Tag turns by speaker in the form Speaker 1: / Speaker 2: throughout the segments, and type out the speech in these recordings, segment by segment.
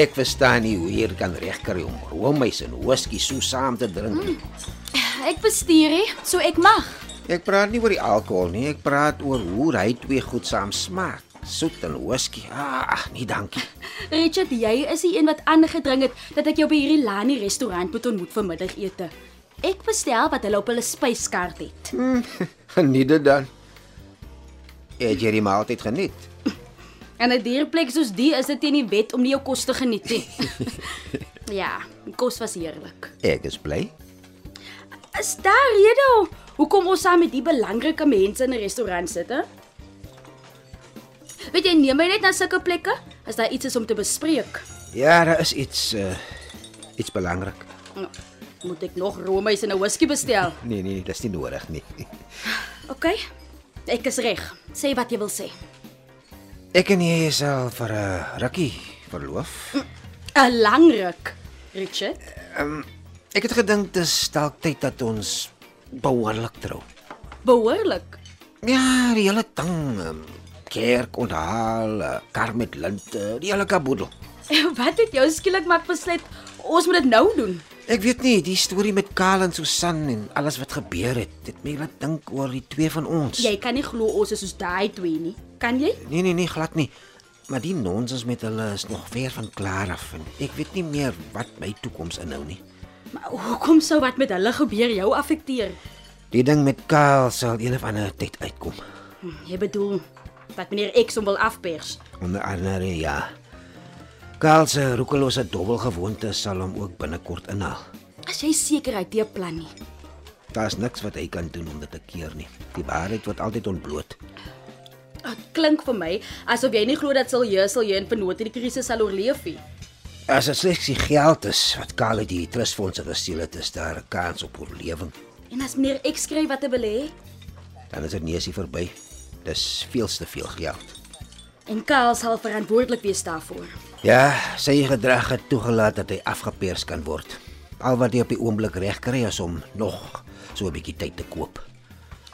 Speaker 1: Ek verstaan nie hoe jy hier kan regkry om roomys en whisky so saam te drink nie.
Speaker 2: Ek bestuur hier, so ek mag.
Speaker 1: Mm. Ek praat nie oor die alkohol nie, ek praat oor hoe hy twee goed saam smaak. Soet en whisky. Ah, ag, nee, dankie.
Speaker 2: Richard, jy is die een wat aangedring het dat ek jou by hierdie Lani restaurant moet ontmoet vir middagete. Ek bestel wat hulle op hulle spyskaart het.
Speaker 1: Geniet dit dan. Het jy die maaltyd geniet?
Speaker 2: En 'n dierplek soos die is dit teen die wet om nie jou kos te geniet nie. ja, die kos was heerlik.
Speaker 1: Ek is bly.
Speaker 2: Is daar rede ho- hoekom ons saam met die belangrike mense in 'n restaurant sit, hè? Weet jy, neem my net na sulke plekke as daar iets is om te bespreek.
Speaker 1: Ja, daar is iets uh iets belangrik.
Speaker 2: Nou, Moet ek nog roomys en 'n whisky bestel?
Speaker 1: Nee, nee, dis nie nodig nie.
Speaker 2: OK. Ek is reg. Sê wat jy wil sê.
Speaker 1: Ek en jy is al vir 'n uh, rukkie verloof.
Speaker 2: 'n Lang ruk, Richard.
Speaker 1: Ek het gedink dis dalk tyd dat ons behoorlik trou.
Speaker 2: Behoorlik.
Speaker 1: Ja, die hele ding. ehm, Kerk onthaal, eh, kar met linte, die hele kaboedel.
Speaker 2: Wat het jou skielik maak besluit ons moet dit nou doen?
Speaker 1: Ek weet nie, die storie met Karl en Susan en alles wat gebeur het, dit my laat dink oor die twee van ons.
Speaker 2: Jy kan nie glo ons is soos daai twee nie. Kan jy?
Speaker 1: Nee nee nee, glad nie. Maar die nonsens met hulle is nog ver van klaar af en ek weet nie meer wat my toekoms inhou nie.
Speaker 2: Maar hoekom sou wat met hulle gebeur jou afekteer?
Speaker 1: Die ding met Karl sal een of ander tyd uitkom.
Speaker 2: Hm, Jy bedoel dat meneer X hom wil afpers.
Speaker 1: Onder andere ja. Karl se roekelose dobbelgewoonte sal hom ook binnekort inhaal.
Speaker 2: As jy seker hy te plan nie.
Speaker 1: Daar's niks wat hy kan doen om dit te keer nie. Die waarheid word altyd ontbloot.
Speaker 2: Dit klink vir my asof jy nie glo dat sal jy sal jy in vernoot hierdie krisis sal oorleef nie.
Speaker 1: As dit slegs die geld is wat Karl uit die trustfondse gesteel het, is daar 'n kans op oorlewing.
Speaker 2: En as meneer X skryf wat hy wil hê
Speaker 1: Dan is dit neusie verby. Dis veel te veel geld.
Speaker 2: en Karl sal verantwoordelik wees daarvoor.
Speaker 1: Ja, sy gedrag het toegelaat dat hy afgepeers kan word. Al wat hy op die oomblik reg kry is om nog so 'n bietjie tyd te koop.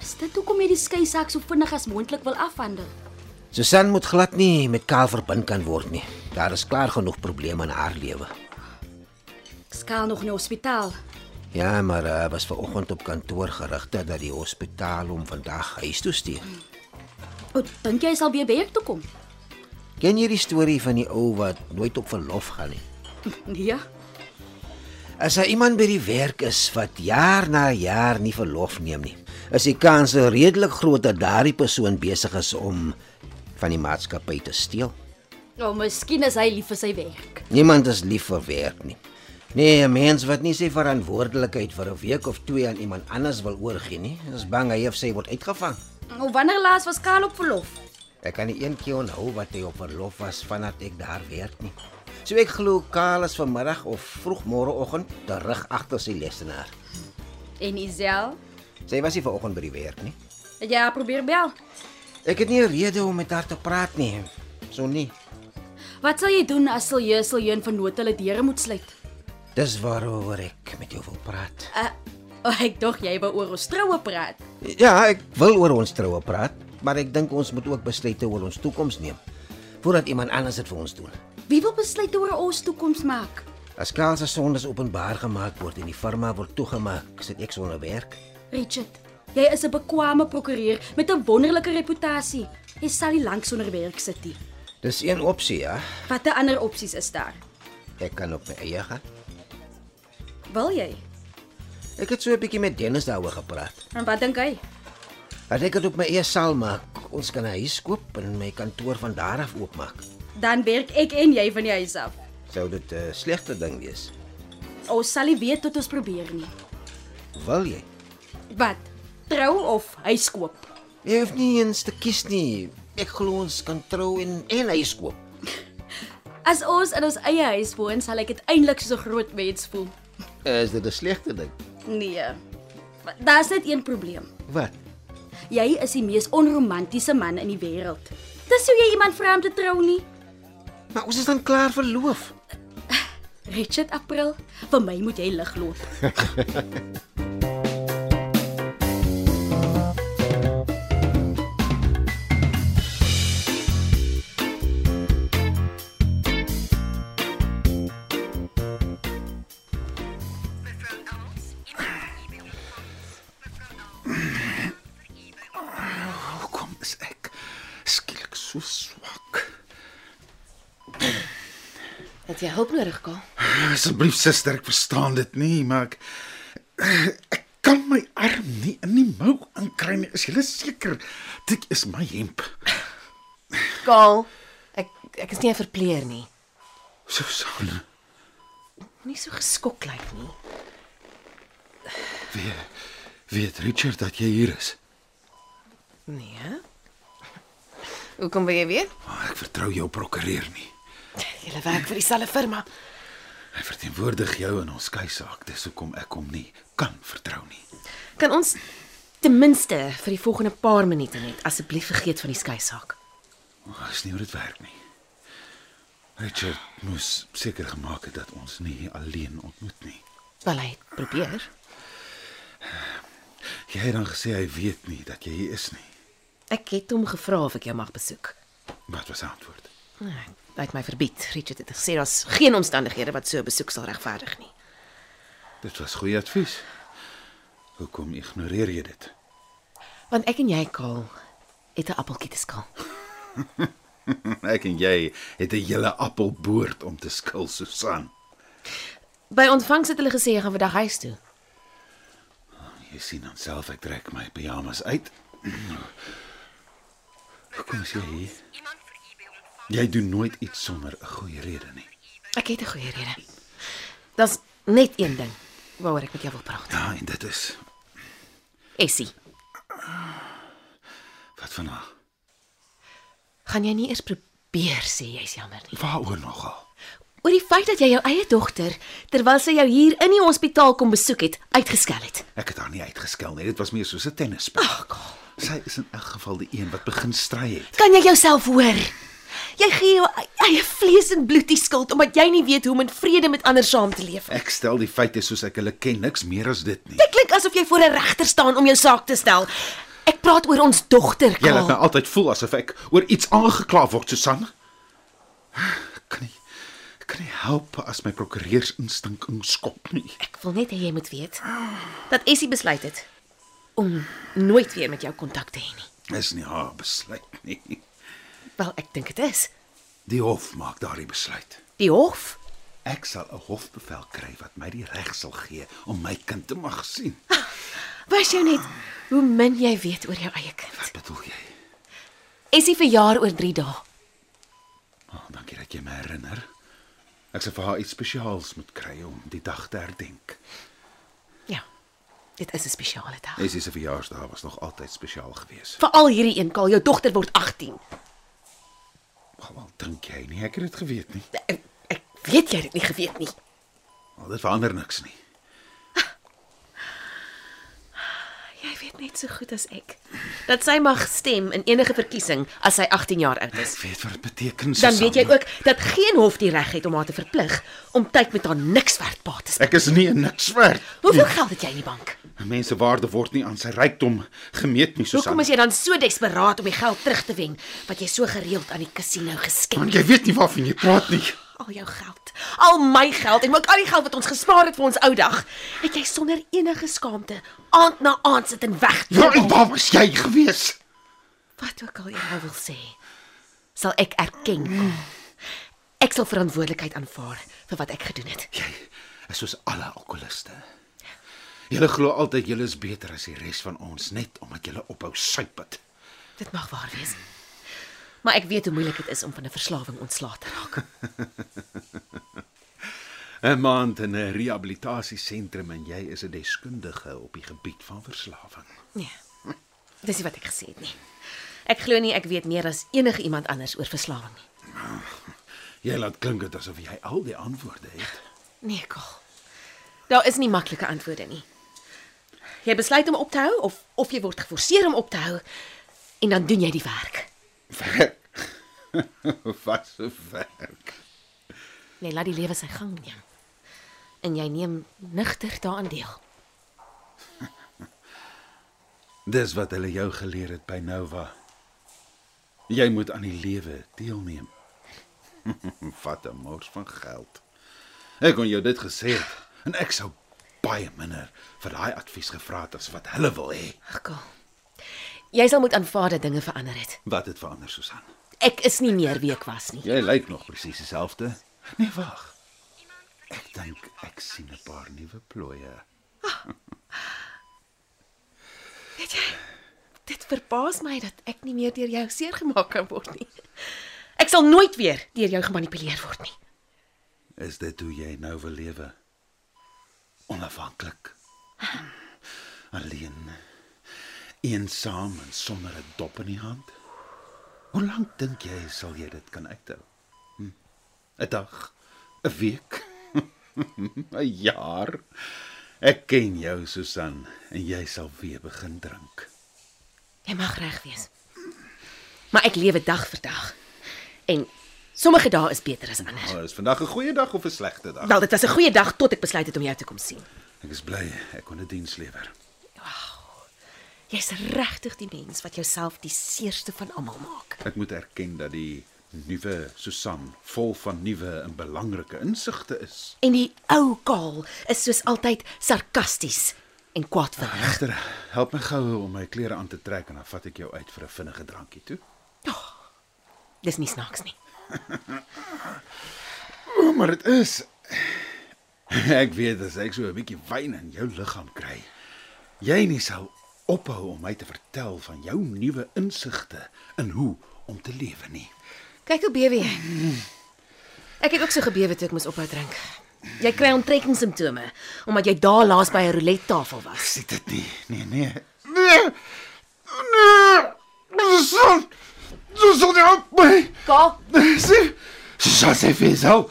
Speaker 2: Is dit hoekom jy die skei sak so vinnig as moontlik wil afhandel?
Speaker 1: Susan moet glad nie met Karl verbind kan word nie. Daar is klaar genoeg probleme in haar lewe.
Speaker 2: Skaal nog in die hospitaal.
Speaker 1: Ja, maar uh, was vanoggend op kantoor gerigte dat die hospitaal hom vandag huis toe stuur.
Speaker 2: O, dink jy hy sal weer werk toe kom?
Speaker 1: Ken jy die storie van die ou wat nooit op verlof gaan nie?
Speaker 2: Nee.
Speaker 1: As daar iemand by die werk is wat jaar na jaar nie verlof neem nie, is die kans redelik groot dat daardie persoon besig is om van die maatskappy te steel.
Speaker 2: Nou, miskien is hy lief vir sy werk.
Speaker 1: Niemand is lief vir werk nie. Nee, 'n mens wat nie sy verantwoordelikheid vir 'n week of twee aan iemand anders wil oorgee nie, is bang hy of sy word uitgevang.
Speaker 2: O, wanneer laas was Skaal op verlof?
Speaker 1: Ek kan nie een keer onthou wat hy op verlof was vandat ek daar werk nie. So ek glo Karl is vanmiddag of vroeg môreoggend terug agter sy lesenaar.
Speaker 2: En Isel?
Speaker 1: Sy was nie vanoggend by die werk nie.
Speaker 2: Het jy haar probeer bel?
Speaker 1: Ek het nie 'n rede om met haar te praat nie. So nie.
Speaker 2: Wat sal jy doen as Silje Siljeun van nood hulle deure moet sluit?
Speaker 1: Dis waaroor ek met jou wil praat.
Speaker 2: Uh, oh, ek dink jy wou oor ons troue praat.
Speaker 1: Ja, ek wil oor ons troue praat, maar ek dink ons moet ook besluite oor ons toekoms neem voordat iemand anders dit vir ons doen.
Speaker 2: Wie wil besluit oor ons toekoms maak?
Speaker 1: As Karl se sondes openbaar gemaak word en die firma word toegemaak, sit ek sonder werk.
Speaker 2: Richard, jy is 'n bekwame prokureur met 'n wonderlike reputasie. Jy sal nie lank sonder werk sit nie.
Speaker 1: Dis een opsie, ja.
Speaker 2: Watter ander opsies is daar?
Speaker 1: Ek kan op my eie gaan.
Speaker 2: Wil jy?
Speaker 1: Ek het so 'n bietjie met Dennis daaroor gepraat.
Speaker 2: En wat dink hy?
Speaker 1: As ek dit op my eie sal maak, ons kan 'n huis koop en my kantoor van daar af oopmaak.
Speaker 2: Dan werk ek en jy van die huis af.
Speaker 1: Sou dit 'n slegte ding wees?
Speaker 2: Ons sal nie weet tot ons probeer nie.
Speaker 1: Wil jy?
Speaker 2: Wat? Trou of huis koop?
Speaker 1: Jy hoef nie eens te kies nie. Ek glo ons kan trou en en huis koop.
Speaker 2: As ons in ons eie huis woon, sal ek uiteindelik so 'n groot mens voel.
Speaker 1: Is dit 'n slegte ding?
Speaker 2: Nee. Daar's net een probleem.
Speaker 1: Wat?
Speaker 2: Jy is die mees onromantiese man in die wêreld. Dis hoe jy iemand vra om te trou nie.
Speaker 1: Maar ons is dan klaar verloof.
Speaker 2: Richard April, vir my moet jy lig loop.
Speaker 3: Hoekom is ek skielik so swak?
Speaker 4: Het jy hulp nodig, Kaal?
Speaker 3: Asseblief suster, ek verstaan dit nie, maar ek ek kan my arm nie in die mou inkry nie. Is jy seker dit is my hemp?
Speaker 4: Kaal, ek ek is nie 'n verpleer nie.
Speaker 3: Susan,
Speaker 4: Moenie so geskok lyk nie.
Speaker 3: weet Richard dat jy hier is?
Speaker 4: Nee. Hoekom wil jy weet?
Speaker 3: Maar ek vertrou jou prokureur nie.
Speaker 4: Jy werk vir dieselfde firma.
Speaker 3: Hy verteenwoordig jou in ons skei saak. Dis hoekom ek hom nie kan vertrou nie.
Speaker 4: Kan ons ten minste vir die volgende paar minute net asseblief vergeet van die skei saak?
Speaker 3: Maar is nie hoe dit werk nie. Richard moes seker gemaak het dat ons nie alleen ontmoet nie.
Speaker 4: Wel, hy het probeer.
Speaker 3: Jy het dan gesê hy weet nie dat jy hier is nie.
Speaker 4: Ek het hom gevra of ek jou mag besoek.
Speaker 3: Wat was sy antwoord?
Speaker 4: Nee, Hy het my verbied. Richard het gesê daar's geen omstandighede wat so 'n besoek sal regverdig nie.
Speaker 3: Dit was goeie advies. Hoekom ignoreer jy dit?
Speaker 4: Want ek en jy, Kaal, het 'n appeltjie te skaal.
Speaker 3: Ek en jy het 'n hele appelboord om te skil, Susan.
Speaker 4: By ontvangs het hulle gesê jy gaan vandag huis toe.
Speaker 3: Jy sien dan self ek trek my pyjamas uit. Hoekom is jy hier? Jy doen nooit iets sonder 'n goeie rede nie.
Speaker 4: Ek het 'n goeie rede. Daar's net een ding waaroor ek met jou wil praat.
Speaker 3: Ja, en dit is
Speaker 4: Essie,
Speaker 3: wat van haar.
Speaker 4: gaan jy nie eers probeer sê jy's jammer nie.
Speaker 3: Waaroor nogal?
Speaker 4: Oor die feit dat jy jou eie dogter terwyl sy jou hier in die hospitaal kom besoek het, uitgeskel het.
Speaker 3: Ek het haar nie uitgeskel nie. Dit was meer soos 'n tennisspel.
Speaker 4: Ag, Kaal.
Speaker 3: Sy is in elk geval die een wat begin stry het.
Speaker 4: Kan jy jouself hoor? Jy gee jou e-, eie vlees en bloed die skuld omdat jy nie weet hoe om in vrede met ander saam te leef nie.
Speaker 3: Ek stel die feite soos ek hulle ken, niks meer as dit nie.
Speaker 4: Dit klink asof jy voor 'n regter staan om jou saak te stel. Ek praat oor ons dogter,
Speaker 3: Jy laat my
Speaker 4: Kaal.
Speaker 3: altyd voel asof ek oor iets aangekla word, Susan. Ek Kan nie ek kan nie help as my prokureurs instink inskop nie.
Speaker 4: Ek wil net hê jy moet weet dat Essie besluit het om nooit weer met jou kontak te hê nie.
Speaker 3: Dis nie haar besluit nie.
Speaker 4: Wel, ek dink dit is
Speaker 3: Die hof maak daardie besluit.
Speaker 4: die hof.
Speaker 3: Ek sal 'n hofbevel kry wat my die reg sal gee om my kind te mag sien.
Speaker 4: Wys jou net hoe min jy weet oor jou eie kind.
Speaker 3: Wat bedoel jy?
Speaker 4: Essie verjaar oor 3 dae.
Speaker 3: Oh, dankie dat jy my herinner. Ek sal vir haar iets spesiaals moet kry om die dag te herdenk.
Speaker 4: Ja. Dit is 'n spesiale dag.
Speaker 3: Essie se verjaarsdag was nog altyd spesiaal geweest.
Speaker 4: Veral hierdie een, Kaal, jou dogter word 18.
Speaker 3: Wel, wel dink jy nie ek het dit geweet nie.
Speaker 4: Ek, ek weet jy het dit nie geweet nie.
Speaker 3: Wel, dit verander niks nie.
Speaker 4: Jy weet net so goed as ek dat sy mag stem in enige verkiesing as sy 18 jaar oud is.
Speaker 3: Ek weet wat dit beteken.
Speaker 4: Dan
Speaker 3: Susan.
Speaker 4: weet jy ook dat geen hof die reg het om haar te verplig om tyd met haar niks werd pa te spandeer.
Speaker 3: ek is nie 'n niks werd.
Speaker 4: Hoeveel geld het jy in die bank?
Speaker 3: 'n Mens se waarde word nie aan sy rykdom gemeet nie, Susan.
Speaker 4: Hoekom is jy dan so desperaat om die geld terug te wen wat jy so gereeld aan die kasino geskenk
Speaker 3: Want
Speaker 4: het?
Speaker 3: jy weet nie waarvan jy praat nie.
Speaker 4: Al jou geld, al my geld en ook al die geld wat ons gespaar het vir ons ou dag, het jy sonder enige skaamte aand na aand sit en weg.
Speaker 3: Ja, en waar was jy gewees?
Speaker 4: Wat ook al jy nou wil sê, sal ek erken. Kom. Ek sal verantwoordelikheid aanvaar vir wat ek gedoen het.
Speaker 3: Jy is soos alle alkoholiste. Julle glo altyd julle is beter as die res van ons net omdat julle ophou suip het.
Speaker 4: Dit mag waar wees. Maar ek weet hoe moeilik dit is om van 'n verslawing ontslae te raak.
Speaker 3: 'n Maand in 'n rehabilitasiesentrum en jy is 'n deskundige op die gebied van verslawing.
Speaker 4: Nee. Dis nie wat ek gesê het nie. Ek glo nie ek weet meer as enige iemand anders oor verslawing nie.
Speaker 3: Jy laat klink dit asof jy al die antwoorde het.
Speaker 4: Nee, Karl. Daar is nie maklike antwoorde nie. Jy besluit om op te hou of of jy word geforseer om op te hou en dan doen jy die werk.
Speaker 3: Werk. Wat 'n werk.
Speaker 4: Jy laat die lewe sy gang neem. En jy neem nigter daaraan deel.
Speaker 3: Dis wat hulle jou geleer het by Nova. Jy moet aan die lewe deelneem. Vat 'n mors van geld. Ek kon jou dit gesê het en ek sou baie minder vir daai advies gevra het as wat hulle wil hê.
Speaker 4: Ag, Kaal. Jy sal moet aanvaar dat dinge verander het.
Speaker 3: Wat het verander, Susan?
Speaker 4: Ek is nie meer wie ek was nie.
Speaker 3: Jy lyk nog presies dieselfde. Nee, wag. Ek dink ek sien 'n paar nuwe plooie.
Speaker 4: Dit verbaas my dat ek nie meer deur jou seergemaak kan word nie. Ek sal nooit weer deur jou gemanipuleer word nie.
Speaker 3: Is dit hoe jy nou wil lewe? Onafhanklik. Alleen. Eensaam en sonder 'n dop in die hand. Hoe lank dink jy sal jy dit kan uithou? Hm? 'n Dag, 'n week, 'n jaar. Ek ken jou, Susan, en jy sal weer begin drink.
Speaker 4: Jy mag reg wees. Maar ek lewe dag vir dag. En sommige dae is beter as ander.
Speaker 3: Oh, is vandag 'n goeie dag of 'n slegte dag?
Speaker 4: Wel, dit was 'n goeie dag tot ek besluit het om jou te kom sien.
Speaker 3: Ek is bly ek kon 'n diens lewer.
Speaker 4: Jy's regtig die mens wat jouself die seerste van almal maak.
Speaker 3: Ek moet erken dat die nuwe Susan vol van nuwe en belangrike insigte is.
Speaker 4: En die ou Kaal is soos altyd sarkasties en kwaadwillig.
Speaker 3: Egter, help my gou om my klere aan te trek en dan vat ek jou uit vir 'n vinnige drankie toe.
Speaker 4: Dis nie snaaks nie.
Speaker 3: O, maar dit is Ek weet as ek so 'n bietjie wyn in jou liggaam kry, jy nie sou ophou om my te vertel van jou nuwe insigte in hoe om te lewe nie.
Speaker 4: Kyk hoe bewe jy. Ek het ook so gebewe toe ek moes ophou drink. Jy kry onttrekkingssimptome omdat jy daar laas by 'n roulette tafel was.
Speaker 3: Sien dit nie. Nee, nee. Nee. Nee. Susan. Susan, help my.
Speaker 4: Kaal,
Speaker 3: Sien. Susan sê vir jou.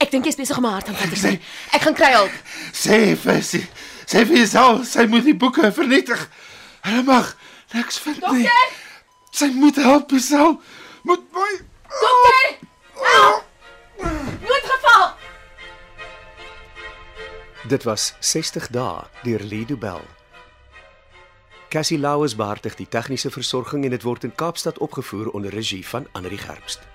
Speaker 4: ek dink jy's besig om 'n hartaanval te kry. Ek gaan kry hulp.
Speaker 3: Sê vir sy. Sê vir jou, sy moet die boeke vernietig. Hulle mag niks vind nie.
Speaker 4: Dokter!
Speaker 3: Sy moet help self. Moet my. Dokter!
Speaker 4: Noodgeval.
Speaker 5: Dit was 60 dae deur Lido Bell. Cassie Lauers beheer die tegniese versorging en dit word in Kaapstad opgevoer onder regie van Anri Gerbst.